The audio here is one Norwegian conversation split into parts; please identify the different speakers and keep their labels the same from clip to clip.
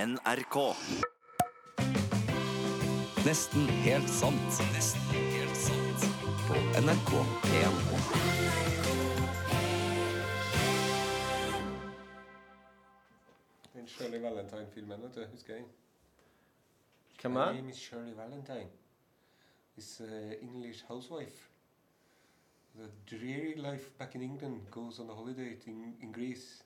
Speaker 1: NRK.
Speaker 2: Nesten helt sant. Nesten helt sant. På NRK P1.
Speaker 3: Den Shirley Valentine-filmen, vet du, husker jeg.
Speaker 4: Hvem
Speaker 3: Her?
Speaker 4: er?
Speaker 3: name is Shirley Valentine. This uh, English housewife. The dreary life back in England goes on a holiday to- in, in Greece.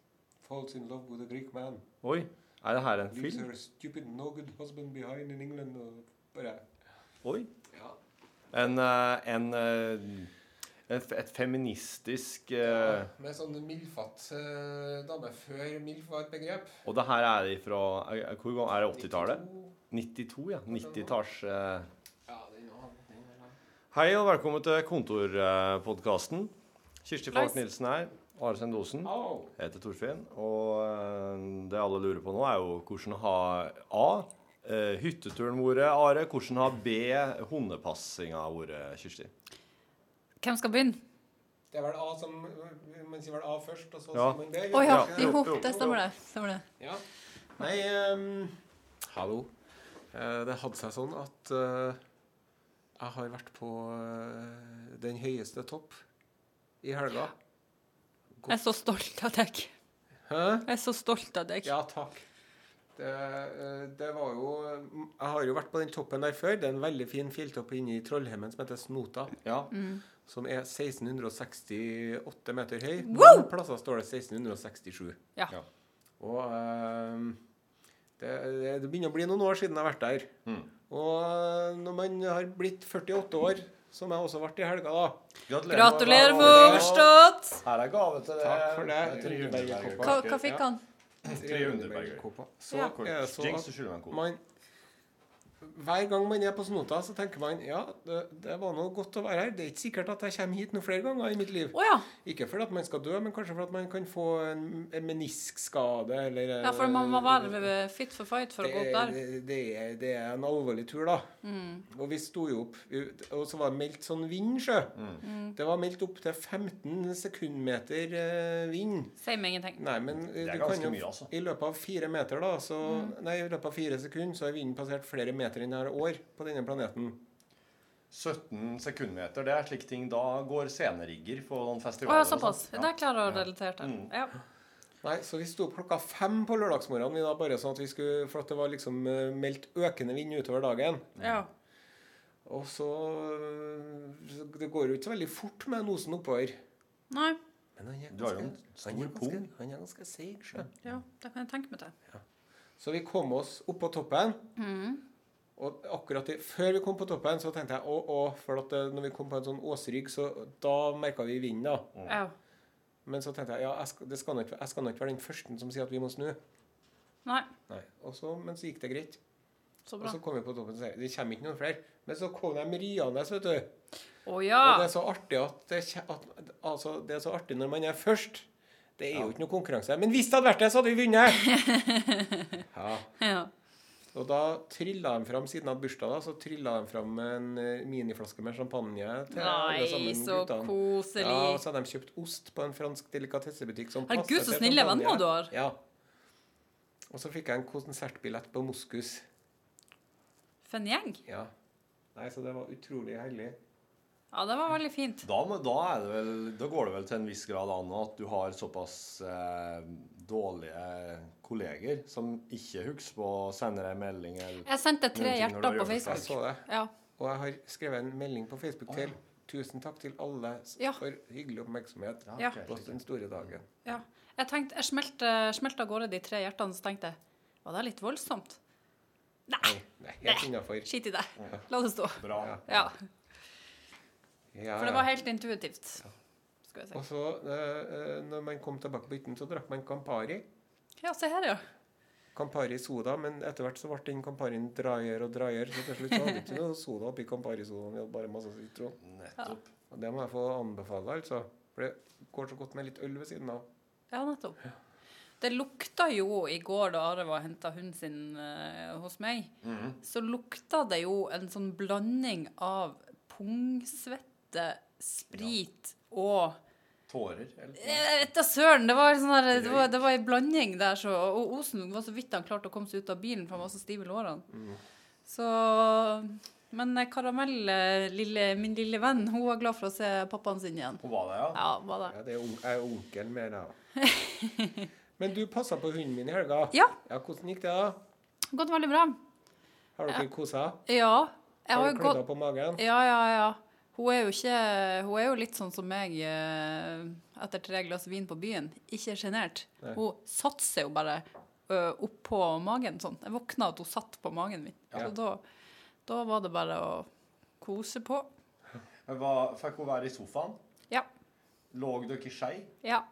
Speaker 3: Falls in love with a Greek man.
Speaker 4: Oi, er det her en
Speaker 3: Leaves
Speaker 4: film?
Speaker 3: her stupid no good husband behind in England. Og bare...
Speaker 4: Oi.
Speaker 3: Ja.
Speaker 4: En, eh, en, eh, en f- Et feministisk eh,
Speaker 3: Med sånn mildfatt eh, dame før mild var et begrep.
Speaker 4: Og det her er ifra er- er- Hvor gammel er det? 80-tallet? 92, ja. 90-talls eh.
Speaker 3: Ja, er den
Speaker 4: Hei og velkommen til Kontorpodkasten. Kirsti Falk Nilsen her. Are Sendosen. Jeg heter Torfinn. Og eh, det alle lurer på nå, er jo hvordan har A. eh, Hytteturen vår, Are. Hvordan har B. Hundepassinga vår, Kirsti?
Speaker 5: Hvem skal begynne?
Speaker 3: Det er vel A som Man sier vel A først, og så
Speaker 4: Ja.
Speaker 3: sier man B.
Speaker 5: Å ja,
Speaker 4: Ja.
Speaker 5: i
Speaker 4: Jo,
Speaker 5: hop.
Speaker 4: jo,
Speaker 5: Det stemmer, det. stemmer det.
Speaker 3: Ja.
Speaker 6: Nei, ehm, hallo. Eh, det hadde seg sånn at eh, jeg har vært på eh, den høyeste topp i helga.
Speaker 5: Jeg er så stolt av deg.
Speaker 6: Hæ?
Speaker 5: Jeg er så stolt av deg.
Speaker 6: Ja, takk. Det, eh, det var jo Jeg har jo vært på den toppen der før. Det er en veldig fin fjelltopp inne i Trollheimen som heter Snota.
Speaker 4: Ja.
Speaker 5: Mm.
Speaker 6: Som er 1668 meter høy.
Speaker 5: Wow!
Speaker 6: Noen plasser står det 1667.
Speaker 5: Ja.
Speaker 4: Ja.
Speaker 6: Og ehm, det, det, det begynner å bli noen år siden jeg har vært der.
Speaker 4: Mm.
Speaker 6: Og eh, når man har blitt 48 år, som jeg også ble i helga, da
Speaker 5: Gratulerer
Speaker 4: med
Speaker 5: for overstått!
Speaker 4: Her er gave til deg.
Speaker 6: Takk for det.
Speaker 4: Tre
Speaker 6: Underbergerkopper.
Speaker 5: Hva, hva fikk han?
Speaker 4: Tre underberger.
Speaker 6: Så
Speaker 5: Ja.
Speaker 6: er det sånn
Speaker 4: Jinx,
Speaker 6: at
Speaker 4: du skylder meg en kode.
Speaker 6: man Hver gang man er på Snota, så tenker man ja, det, det var noe godt å være her. Det er ikke sikkert at jeg kommer hit noen flere ganger i mitt liv.
Speaker 5: Å ja.
Speaker 6: Ikke fordi at man skal dø, men kanskje fordi at man kan få en, en meniskskade eller eh,
Speaker 5: ja. For man må være fit for fight for å gå opp der. Mm.
Speaker 6: det, det, er, det er en alvorlig tur, da. Og vi sto jo opp, vi- og så var det meldt sånn vind, sjø.
Speaker 5: Mm.
Speaker 6: Det var meldt opp til 15 sekundmeter eh, vind.
Speaker 5: Sier meg ingenting.
Speaker 6: Nei, men eh,
Speaker 4: Det er
Speaker 6: du kan
Speaker 4: ganske
Speaker 6: jo,
Speaker 4: mye, altså.
Speaker 6: i løpet av fire meter, da, så Nei, i løpet av fire sekunder så har vinden passert flere meter enn det har år på denne planeten.
Speaker 4: 17 sekundmeter, det er slik ting da går scenerigger på noen
Speaker 5: Å
Speaker 4: festivaler.
Speaker 5: ja,
Speaker 4: og
Speaker 5: såpass.
Speaker 4: sånt.
Speaker 5: Det er klarer å relatere til. Ja.
Speaker 6: Nei, så vi sto opp klokka fem på lørdagsmorgenen, vi da, bare sånn at vi skulle For at det var liksom eh, meldt økende vind utover dagen.
Speaker 5: ja.
Speaker 6: Og så øh, Det går jo ikke så veldig fort med en Osen oppover.
Speaker 5: Nei.
Speaker 6: Men han er
Speaker 4: Du har jo
Speaker 6: ganske-
Speaker 4: en stor
Speaker 6: han er ganske-
Speaker 4: pung.
Speaker 6: Han er ganske seig, sjø.
Speaker 5: Ja, det kan jeg tenke meg til.
Speaker 6: Så vi kom oss opp på toppen.
Speaker 5: Mm.
Speaker 6: Og akkurat i, før vi kom på toppen, så tenkte jeg å, å, for at eh, når vi kom på en sånn åsrygg, så da merka vi vinden, da.
Speaker 5: Ja.
Speaker 6: Men så tenkte jeg ja, jeg skal, det skal nå ikke, jeg skal nå ikke være den første som sier at vi må snu.
Speaker 5: Nei.
Speaker 6: Nei. Og så, men så gikk det greit.
Speaker 5: Så
Speaker 6: Og
Speaker 5: bra.
Speaker 6: så kom vi på toppen og sa det kommer ikke noen flere. Men så kom de riende, vet du.
Speaker 5: Å
Speaker 6: Og det
Speaker 5: ja.
Speaker 6: er så artig at, det, kje- at altså, det er så artig når man er først. Det er jo ikke noe konkurranse. Men hvis det hadde vært det, så hadde vi vunnet! Ja.
Speaker 5: ja.
Speaker 6: Og da trilla de fram, siden jeg hadde bursdag, da, så trilla de fram en eh, miniflaske med champagne. til alle
Speaker 5: Nei,
Speaker 6: sammen
Speaker 5: så
Speaker 6: guttene. Ja, og
Speaker 5: koselig.
Speaker 6: så hadde de kjøpt ost på en fransk delikatessebutikk. som
Speaker 5: Herregud,
Speaker 6: passer
Speaker 5: så
Speaker 6: til
Speaker 5: snille
Speaker 6: champagne.
Speaker 5: venner du har.
Speaker 6: Ja. Og så fikk jeg en konsertbillett på Moskus.
Speaker 5: For en gjeng.
Speaker 6: Ja. Nei, Så det var utrolig hellig.
Speaker 5: Ja, det var veldig fint.
Speaker 4: Da, må- da, er det vel, da går det vel til en viss grad an at du har såpass eh, dårlige kolleger som ikke husker på å sende deg en melding eller
Speaker 5: Jeg sendte tre
Speaker 4: Noen ting når du
Speaker 5: hjerter på
Speaker 4: gjør det
Speaker 6: Jeg
Speaker 5: Facebook.
Speaker 6: så det.
Speaker 5: Ja.
Speaker 6: Og jeg har skrevet en melding på Facebook til Tusen takk til alle s-
Speaker 5: Ja.
Speaker 6: for hyggelig oppmerksomhet
Speaker 5: Ja.
Speaker 6: på den store dagen.
Speaker 5: Ja. Jeg tenkte, jeg smelte, smelte av gårde de tre hjertene, så tenkte jeg var det litt voldsomt? Nei,
Speaker 6: Nei, helt innafor.
Speaker 5: skit i det. La det stå.
Speaker 4: Bra.
Speaker 5: Ja,
Speaker 6: Ja,
Speaker 5: For det var helt intuitivt, skulle
Speaker 6: Og
Speaker 5: jeg si.
Speaker 6: så, eh, eh, når man kom tilbake på hytten, så drakk man Campari.
Speaker 5: Ja, se her, ja.
Speaker 6: Campari soda, men etter hvert så ble den Camparien draier og draier. Så til slutt så hadde vi ikke noe soda oppi Campari sodaen, vi hadde bare masse sitron.
Speaker 4: Nettopp.
Speaker 6: Og det må jeg få anbefale, altså. For det går så godt med litt øl ved siden av.
Speaker 5: Ja, nettopp. Det lukta jo i går da Are var og henta hunden sin eh, hos meg, så lukta det jo en sånn blanding av pungsvette, sprit og
Speaker 4: Tårer? Eller?
Speaker 5: Etter søren, det var, sånn der, det var, det var en blanding der, så, og Osen var så vidt han klarte å komme seg ut av bilen, for han var så stiv i lårene. Så, men eh, Karamell, eh, lille, min lille venn, hun var glad for å se pappaen sin igjen.
Speaker 4: Hun var det, ja?
Speaker 5: Ja, var det.
Speaker 6: Ja, det er on- jeg er onkelen min, da. Men du passa på hunden min i helga.
Speaker 5: Ja,
Speaker 6: Ja, Hvordan gikk det, da?
Speaker 5: gått veldig bra.
Speaker 6: Har dere kosa?
Speaker 5: Ja, jeg
Speaker 6: Har
Speaker 5: har
Speaker 6: du
Speaker 5: jo
Speaker 6: klødda
Speaker 5: gått...
Speaker 6: på magen?
Speaker 5: Ja, ja, ja. Hun er jo ikke... Hun er jo litt sånn som meg eh, etter tre glass vin på byen. Ikke genert. Hun satt seg jo bare ø, opp på magen sånn. Jeg våkna at hun satt på magen min. Så da, da var det bare å kose på.
Speaker 4: Men hva- Fikk hun være i sofaen?
Speaker 5: Ja,
Speaker 4: Lå dere i skei?
Speaker 5: ja.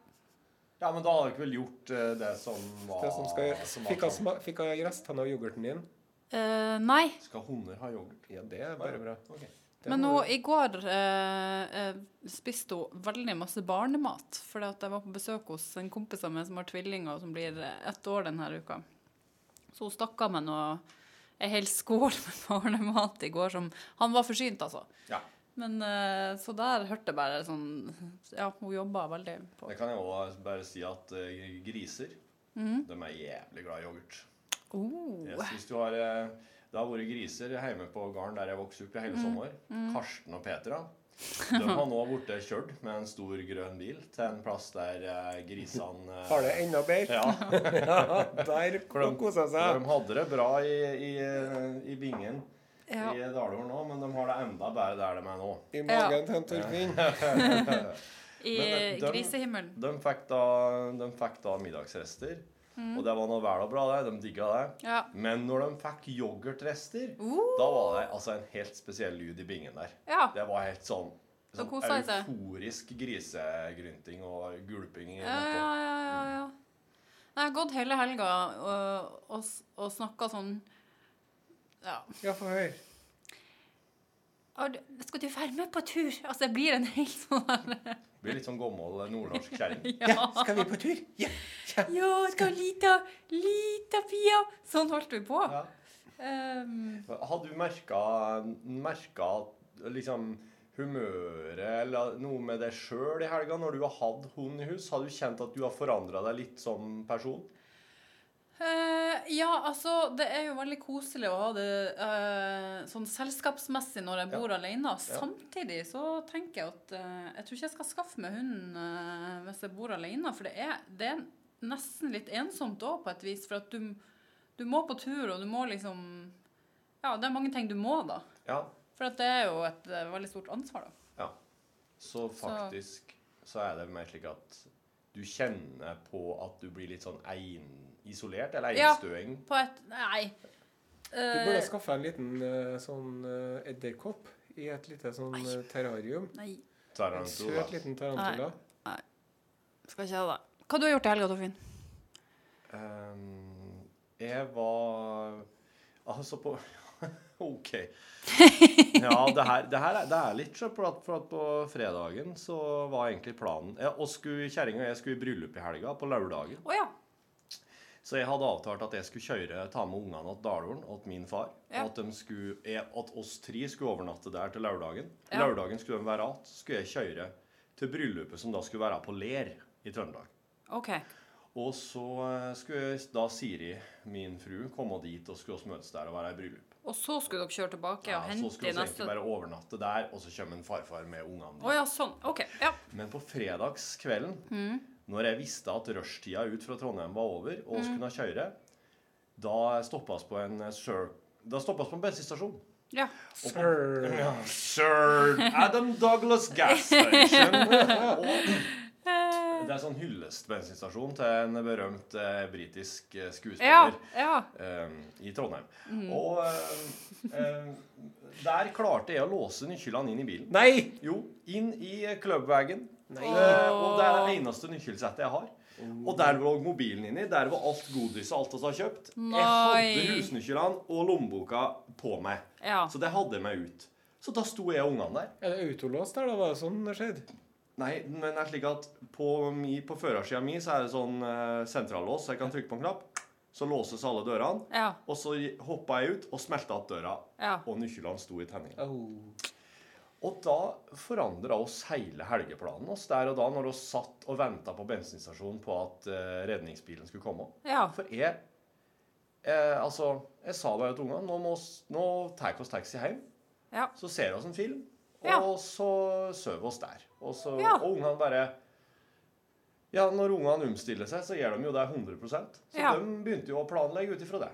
Speaker 4: Ja, men da hadde dere vel gjort eh, det som var
Speaker 6: Det som skal,
Speaker 4: som var
Speaker 6: fikk jeg
Speaker 4: sånn.
Speaker 6: sma- fikk jeg restene av yoghurten din?
Speaker 5: Eh, nei,
Speaker 4: Skal hunder ha yoghurt?
Speaker 6: Ja, det er bare bra.
Speaker 4: Ok.
Speaker 6: Det
Speaker 5: men
Speaker 6: må
Speaker 5: hun,
Speaker 6: du-
Speaker 5: i går eh, eh, spiste hun veldig masse barnemat. Fordi at jeg var på besøk hos en kompis av meg som har tvillinger, og som blir eh, ett år denne uka. Så hun stakk av meg noe, en hel skål med barnemat i går. Som, han var forsynt, altså.
Speaker 4: Ja.
Speaker 5: Men eh, Så der hørte jeg bare sånn Ja, hun jobba veldig på
Speaker 4: Det kan jeg også bare si at eh, griser de er jævlig glad i yoghurt.
Speaker 5: Mm. oh,
Speaker 4: Yes, hvis du har, eh, det har vært griser hjemme på gården der jeg vokste opp i
Speaker 5: Mm.
Speaker 4: hele sommer. Karsten og Petra. De har nå blitt kjørt med en stor grønn bil til en plass der eh, grisene eh,
Speaker 6: Har det enda bedre?
Speaker 4: ja,
Speaker 6: Ja, der
Speaker 4: de,
Speaker 6: kosa
Speaker 4: de
Speaker 6: seg.
Speaker 4: hadde det bra i, i, eh, i bingen
Speaker 5: Ja.
Speaker 4: i Dalhorn nå, men de har det enda bedre der de er nå.
Speaker 6: I magen til en Torfinn.
Speaker 5: I
Speaker 4: Men, eh, de-
Speaker 5: grisehimmelen.
Speaker 4: De fikk da, de fikk da middagsrester, og det var nå vel og bra, det. De digga det.
Speaker 5: Mm. Ja.
Speaker 4: Men når de fikk yoghurtrester,
Speaker 5: Uh.
Speaker 4: da var det altså en helt spesiell lyd i bingen der.
Speaker 5: Ja.
Speaker 4: Det var helt sånn,
Speaker 5: Da
Speaker 4: sånn
Speaker 5: koset jeg seg.
Speaker 4: euforisk grisegrynting og gulping. i
Speaker 5: Ja,
Speaker 4: natta.
Speaker 5: ja, ja, ja, ja. Nei, Jeg har gått hele helga og, og, s- og snakka sånn Ja.
Speaker 6: Ja, få høre.
Speaker 5: «Har du- Skal du være med på tur? Altså, jeg blir en helt sånn der
Speaker 4: Blir litt sånn gammel nordnorsk kjerring.
Speaker 5: Ja,
Speaker 6: Skal vi på tur? Ja.
Speaker 5: ja skal lita, lita pia Sånn holdt vi på.
Speaker 4: Ja.
Speaker 5: Ehm,
Speaker 4: Hadde du merka, liksom humøret eller noe med deg sjøl i helga når du har hatt hund i hus? Har du kjent at du har forandra deg litt som person?
Speaker 5: eh, ja, altså, det er jo veldig koselig å ha det eh, sånn selskapsmessig når jeg bor alene. Samtidig så tenker jeg at eh, jeg tror ikke jeg skal skaffe meg hund eh, hvis jeg bor alene, for det er, det er nesten litt ensomt òg, på et vis. For at du, du må på tur, og du må liksom Ja, det er mange ting du må, da.
Speaker 4: Ja.
Speaker 5: For at det er jo et eh, veldig stort ansvar, da.
Speaker 4: ja. Så faktisk så er det mer slik at du kjenner på at du blir litt sånn ein, isolert, eller
Speaker 5: Ja.
Speaker 4: einstøing.
Speaker 5: På et Nei.
Speaker 6: Du burde
Speaker 5: Eh,
Speaker 6: skaffe en liten eh, sånn eh, edderkopp i et lite sånn eh, terrarium.
Speaker 5: nei.
Speaker 6: En
Speaker 4: Tarantula.
Speaker 6: søt liten tarantula.
Speaker 5: Skal ikke ha det. Hva du har gjort i helga, Torfinn?
Speaker 4: Ehm, jeg var Altså på OK. Ja, det her, det her er, det er litt sånn, for at, for at på fredagen så var egentlig planen ja, og skulle Kjerringa og jeg skulle i bryllup i helga, på lørdagen.
Speaker 5: Å ja.
Speaker 4: Så jeg hadde avtalt at jeg skulle kjøre, ta med ungene til Dalhorn og til min far.
Speaker 5: Ja.
Speaker 4: Og at, de skulle, jeg, at oss tre skulle overnatte der til lørdagen.
Speaker 5: Ja.
Speaker 4: Lørdagen skulle de være igjen. Så skulle jeg kjøre til bryllupet som da skulle være på Ler i Trøndelag.
Speaker 5: OK.
Speaker 4: Og så eh, skulle da Siri, min fru, komme dit og skulle oss møtes der og være i bryllup.
Speaker 5: Og så skulle dere kjøre tilbake
Speaker 4: Ja,
Speaker 5: og
Speaker 4: så
Speaker 5: hente
Speaker 4: skulle
Speaker 5: i
Speaker 4: vi egentlig
Speaker 5: neste Å
Speaker 4: bare overnatte der, og så kommer en farfar med ungene. dit.
Speaker 5: ja, sånn. OK. Ja.
Speaker 4: Men på fredagskvelden, når jeg visste at rushtida ut fra Trondheim var over, og oss kunne kjøre, da stoppa vi på en eh, Sir... Da stoppa oss på en bensinstasjon.
Speaker 5: ja.
Speaker 6: Sir.
Speaker 4: Ja, Sir Adam Douglas Gas Station. Og det er sånn hyllestbensinstasjon til en berømt eh, britisk eh,
Speaker 5: Ja.
Speaker 4: skuespiller
Speaker 5: ja.
Speaker 4: eh, i Trondheim. Og eh, eh, der klarte jeg å låse nøklene inn i bilen.
Speaker 6: Nei!
Speaker 4: Jo, inn i clubwagen.
Speaker 6: Nei.
Speaker 4: Eh, og det er det eneste nøkkelsettet jeg har. Og der lå mobilen inni. Der var alt godis og alt vi har kjøpt. Jeg hadde
Speaker 5: Nei.
Speaker 4: husnøklene og lommeboka på meg.
Speaker 5: Ja.
Speaker 4: Så det hadde jeg meg ut. Så da sto jeg og ungene der.
Speaker 6: Er det autolås der, da? Var det sånn det skjedde?
Speaker 4: Nei, men det er slik at på, mi- på førersida mi så er det sånn eh, sentrallås, så jeg kan trykke på en knapp. Så låses alle dørene.
Speaker 5: Ja.
Speaker 4: Og så hoppa jeg ut og smelta opp døra.
Speaker 5: Ja.
Speaker 4: Og nøklene sto i tenninga.
Speaker 6: Au.
Speaker 4: Og da forandra oss hele helgeplanen oss der og da, når vi satt og venta på bensinstasjonen på at eh, redningsbilen skulle komme.
Speaker 5: Ja.
Speaker 4: For jeg eh, Altså, jeg sa bare til ungene nå, må oss- nå tar vi taxi hjem.
Speaker 5: Ja.
Speaker 4: Så ser vi oss en film, og
Speaker 5: Ja.
Speaker 4: så sover vi oss der. Og, så,
Speaker 5: Ja.
Speaker 4: og ungene bare Ja, når ungene omstiller seg, så gjør de jo det 100 Så
Speaker 5: Ja.
Speaker 4: de begynte jo å planlegge ut ifra det.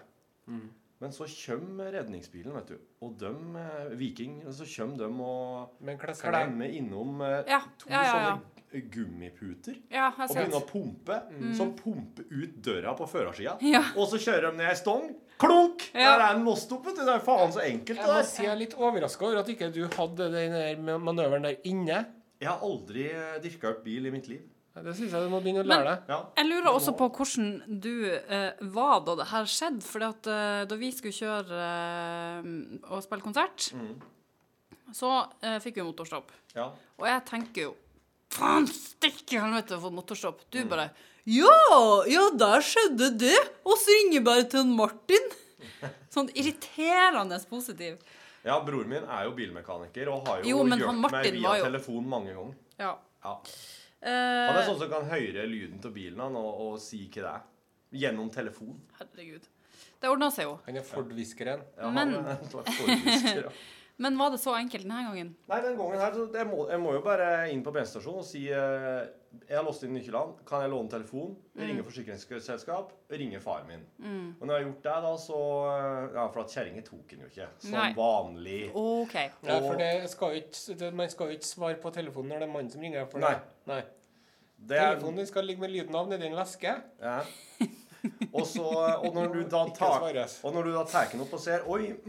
Speaker 4: Men så kommer redningsbilen, vet du. Og de, eh, Viking, så kommer de og
Speaker 6: Men klesser ned.
Speaker 4: klemmer innom eh,
Speaker 5: Ja,
Speaker 4: to
Speaker 5: ja, ja, ja.
Speaker 4: sånne gummiputer.
Speaker 5: ja jeg
Speaker 4: Og
Speaker 5: ser
Speaker 4: begynner
Speaker 5: det.
Speaker 4: å pumpe, som pumper ut døra på førersida.
Speaker 5: Ja.
Speaker 4: Og så kjører de ned ei stong. Klunk!
Speaker 5: Ja.
Speaker 4: Der er den låst opp, vet du. Det er faen så enkelt,
Speaker 6: Jeg må
Speaker 4: det der.
Speaker 6: si jeg er litt overraska over at ikke du hadde den der ma- manøveren der inne.
Speaker 4: Jeg har aldri dyrka opp bil i mitt liv.
Speaker 6: Det syns jeg du må begynne å lære
Speaker 5: Men-
Speaker 6: deg.
Speaker 4: Ja.
Speaker 5: Jeg lurer også på hvordan du eh, var da det her skjedde. For da vi skulle kjøre eh, og spille konsert,
Speaker 4: Mm.
Speaker 5: så eh, fikk vi motorstopp.
Speaker 4: ja.
Speaker 5: Og jeg tenker jo Faen stikke i helvete for motorstopp. Du bare Ja, ja, der skjedde det. Og så ringer jeg bare til han Martin. Sånn irriterende positiv.
Speaker 4: ja, broren min er jo bilmekaniker og har jo,
Speaker 5: Jo, men han
Speaker 4: hjulpet meg
Speaker 5: Martin
Speaker 4: via
Speaker 5: var jo-
Speaker 4: telefon mange ganger.
Speaker 5: Ja.
Speaker 4: Ja. Han er
Speaker 5: Eh,
Speaker 4: sånn som kan høre lyden av bilen han, og, og si hva det er. Gjennom telefon.
Speaker 5: herregud. Det ordna seg jo.
Speaker 6: Han er Ford-hviskeren.
Speaker 4: Ja, han
Speaker 5: Men-
Speaker 4: er en slags forhusker, ja.
Speaker 5: Men var det så enkelt denne gangen?
Speaker 4: Nei, den gangen her, så jeg må, jeg må jo bare inn på bensinstasjonen og si eh, Jeg har låst inn nøklene. Kan jeg låne telefon? Ringe forsikringsselskap. Ringe faren min. Og når jeg har gjort det, da, så eh, Ja, for at kjerringa tok den jo ikke. Som
Speaker 5: Nei.
Speaker 4: vanlig.
Speaker 5: OK.
Speaker 6: Ja, for det skal jo ikke, det, man skal jo ikke svare på telefonen når det er mannen som ringer. For
Speaker 4: Nei.
Speaker 6: det. Nei.
Speaker 4: Det er, sånn,
Speaker 6: Telefonen din skal ligge med lyden av nedi en veske.
Speaker 4: ja. Og så Og når du da
Speaker 6: Ikke
Speaker 4: tar
Speaker 6: svares.
Speaker 4: Og når du da tar den opp og ser Oi,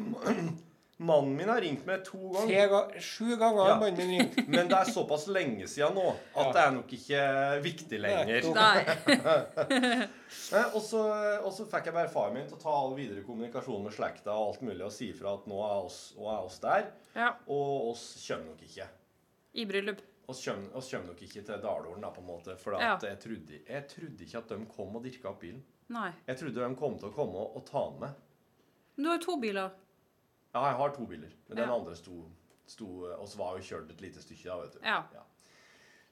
Speaker 4: mannen min har ringt meg to ganger.
Speaker 6: Tre ga sju ganger har
Speaker 4: Ja.
Speaker 6: mannen min ringt.
Speaker 4: Men det er såpass lenge siden nå at
Speaker 6: Ja.
Speaker 4: det er nok ikke viktig lenger.
Speaker 5: Nei.
Speaker 4: Eh, Og så, og så fikk jeg bare faren min til å ta all videre kommunikasjon med slekta og alt mulig og si fra at nå er oss, og er oss der,
Speaker 5: Ja.
Speaker 4: og oss kommer nok ikke.
Speaker 5: I bryllup.
Speaker 4: Oss kommer, oss kommer nok ikke til Dalorden, da, på en måte. For
Speaker 5: Ja.
Speaker 4: at jeg, trodde, jeg trodde ikke at de kom og dirka opp bilen.
Speaker 5: Nei.
Speaker 4: Jeg trodde de kom til å komme og, og ta den med.
Speaker 5: Men du har jo to biler.
Speaker 4: Ja, jeg har to biler, men den
Speaker 5: Ja.
Speaker 4: andre sto, sto oss var jo kjørt et lite stykke da, vet du.
Speaker 5: Ja.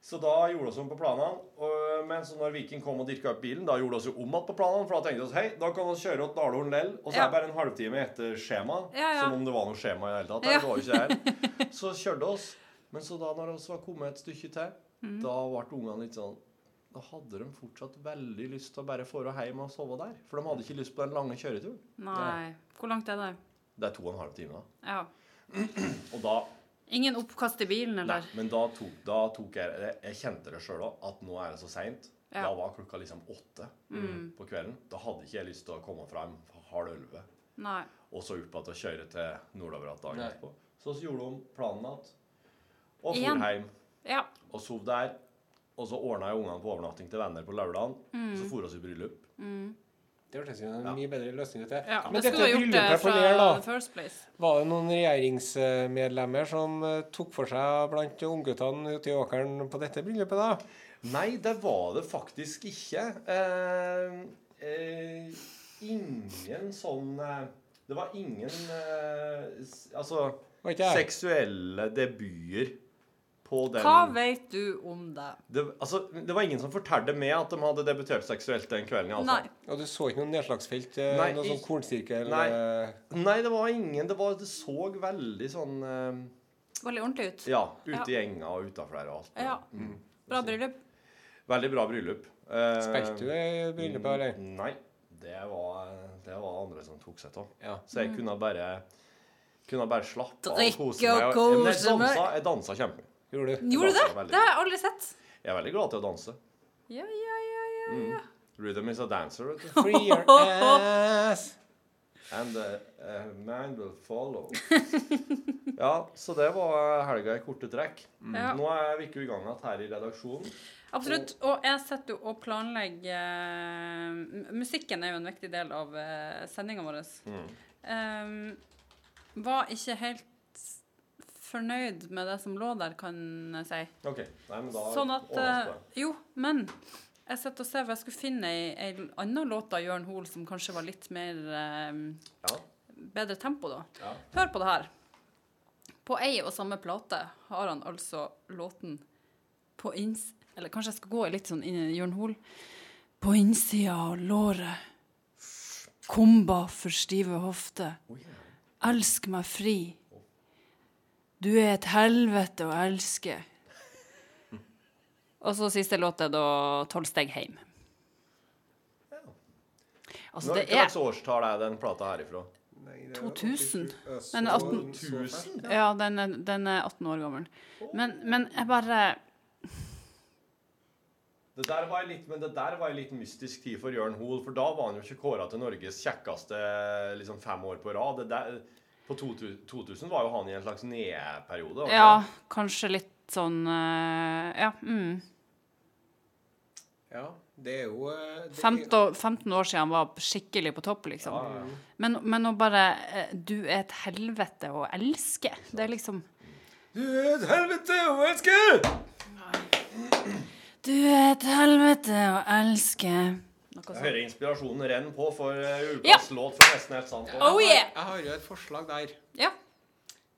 Speaker 4: Så da gjorde vi om på planene. og- Men så når Viking kom og dirka opp bilen, da gjorde vi jo om igjen på planene. For da tenkte vi hei, da kan vi kjøre til Dalhorn lell. Og så er det
Speaker 5: Ja.
Speaker 4: bare en halvtime etter skjema.
Speaker 5: Ja, ja.
Speaker 4: Som om det var noe skjema i det hele tatt. Det var jo ikke det her. Så kjørte oss. Men så da når vi var kommet et stykke til,
Speaker 5: Mm.
Speaker 4: da ble ungene litt sånn Da hadde de fortsatt veldig lyst til å bare dra hjem og sove der. For de hadde ikke lyst på den lange kjøreturen.
Speaker 5: Nei. Hvor langt er det?
Speaker 4: Det er to og en halv time. da.
Speaker 5: Ja.
Speaker 4: Og da
Speaker 5: Ingen oppkast i bilen,
Speaker 4: Nei,
Speaker 5: eller?
Speaker 4: men da tok, da tok jeg Jeg, jeg kjente det sjøl òg, at nå er det så seint.
Speaker 5: Ja.
Speaker 4: Da var klokka liksom åtte på kvelden. Da hadde ikke jeg lyst til å komme fram halv elleve
Speaker 5: Nei.
Speaker 4: og så opp igjen og kjøre til nordover igjen dagen
Speaker 6: Nei.
Speaker 4: etterpå. Så gjorde hun planen igjen. Og
Speaker 5: Igjen.
Speaker 4: for hjem
Speaker 5: Ja.
Speaker 4: og sov der. Og så ordna jeg ungene på overnatting til venner på lørdagen. Så for oss i bryllup.
Speaker 6: Det hørtes ut som en mye bedre løsning. Dette.
Speaker 5: ja.
Speaker 6: Men
Speaker 5: Det
Speaker 6: dette
Speaker 5: skulle du ha gjort det
Speaker 6: bryllupet på
Speaker 5: fra
Speaker 6: Ler, da.
Speaker 5: the first place.
Speaker 6: Var det noen regjeringsmedlemmer som eh, tok for seg blant ungguttene ute i åkeren på dette bryllupet, da?
Speaker 4: Nei, det var det faktisk ikke. Eh, eh, ingen sånn eh, Det var ingen eh, s- Altså
Speaker 6: Var ikke jeg?
Speaker 4: seksuelle debuter på den
Speaker 5: Hva vet du om det?
Speaker 4: det, altså, det var ingen som fortalte meg at de hadde debutert seksuelt den kvelden. Altså.
Speaker 5: Nei.
Speaker 6: Og du så ikke noe nedslagsfelt? eh,
Speaker 4: Nei,
Speaker 6: noe sånn
Speaker 4: ikke-
Speaker 6: kornsirkel?
Speaker 4: Nei.
Speaker 6: eh,
Speaker 4: Nei, det var ingen. Det, var, det så veldig sånn eh,
Speaker 5: Veldig ordentlig ut.
Speaker 4: Ja, Mm. ute i enga og utafor der og alt.
Speaker 5: Ja. Bra bryllup.
Speaker 4: Veldig bra bryllup. Eh,
Speaker 6: Spilte du i bryllupet, eller?
Speaker 4: Mm, Nei. Det var, det var andre som tok seg av.
Speaker 6: Ja.
Speaker 4: Så jeg kunne bare kunne bare slappe av og
Speaker 5: Drikke
Speaker 4: kose meg.
Speaker 5: og
Speaker 4: Ja, men jeg
Speaker 5: kose meg.
Speaker 4: dansa, jeg dansa kjempemye.
Speaker 6: Gjorde du?
Speaker 5: Gjorde du
Speaker 4: danser
Speaker 5: det?
Speaker 4: veldig.
Speaker 5: Det har jeg aldri sett.
Speaker 4: Jeg er veldig glad til å danse.
Speaker 5: Ja, ja, ja, ja.
Speaker 4: Mm. Rhythm is a dancer, vet du.
Speaker 6: Free your ass!
Speaker 4: And the uh, man will follow. ja, så det var helga i korte trekk.
Speaker 5: Ja.
Speaker 4: Nå er vi ikke i gang igjen her i redaksjonen.
Speaker 5: Absolutt. Og jeg sitter jo og planlegger eh, m- Musikken er jo en viktig del av uh, sendinga vår.
Speaker 4: Mm.
Speaker 5: Ehm, var ikke helt fornøyd med det som lå der, kan jeg si.
Speaker 4: Ok, nei, men da
Speaker 5: Sånn at
Speaker 4: ordnes
Speaker 5: eh,
Speaker 4: det.
Speaker 5: Jo, men jeg sitter og ser hva jeg skulle finne ei, ei anna låt av Jørn Hoel som kanskje var litt mer eh,
Speaker 4: Ja.
Speaker 5: bedre tempo, da.
Speaker 4: Ja.
Speaker 5: Hør på det her. På ei og samme plate har han altså låten På inns... Eller kanskje jeg skal gå i litt sånn inn i Jørn Hoel. På innsida av låret. Komba for stive hofter. Elsk meg fri. Du er et helvete å elske. Og så siste låt er da 'Tolv steg heim'. Altså, det
Speaker 4: Hva
Speaker 5: er
Speaker 4: slags årstall er den plata her ifra?
Speaker 6: Nei, det er
Speaker 5: 2000.
Speaker 6: 87. Jeg så-
Speaker 5: Men 18
Speaker 6: så-
Speaker 5: Ja, den er, den er 18 år gammel. Men, men jeg bare
Speaker 4: Det der var en litt, men det der var en litt mystisk tid for Jørn Hoel, for da var han jo ikke kåra til Norges kjekkeste liksom fem år på rad. Det der, på 2000, 2000 var jo han i en slags nedperiode. var det
Speaker 5: Ja,
Speaker 4: ikke?
Speaker 5: kanskje litt sånn eh, Ja. Mm.
Speaker 6: Ja, det er jo eh, det er-
Speaker 5: 15, år- 15 år siden han var skikkelig på topp, liksom.
Speaker 4: Ja, ja, ja.
Speaker 5: Men, men å bare eh, Du er et helvete å elske. Det er liksom
Speaker 6: Du er et helvete å elske!
Speaker 5: Du er et helvete å elske. Noe
Speaker 4: Jeg
Speaker 5: sånt.
Speaker 4: hører inspirasjonen renne på for eh,
Speaker 5: Ja.
Speaker 4: ukas låt fra Nesten helt sant.
Speaker 5: Oh yeah!
Speaker 6: Jeg har jo et forslag der.
Speaker 5: Ja.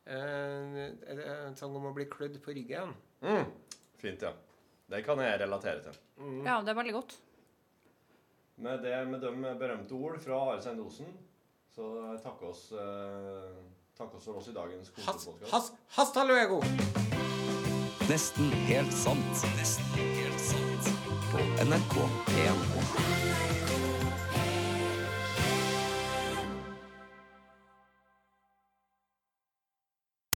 Speaker 6: En, en, en sang om å bli klødd på ryggen.
Speaker 4: Mm. Fint, ja. Det kan jeg relatere til.
Speaker 5: ja, det er veldig godt.
Speaker 4: Med, det, med de berømte ord fra Are Sein Osen, så takk oss, eh, takk oss for oss i dagens
Speaker 6: Has,
Speaker 4: kontorpodkast.
Speaker 6: has, hasta luego!
Speaker 2: Nesten helt sant. Nesten helt sant. På NRK P1.
Speaker 1: Thank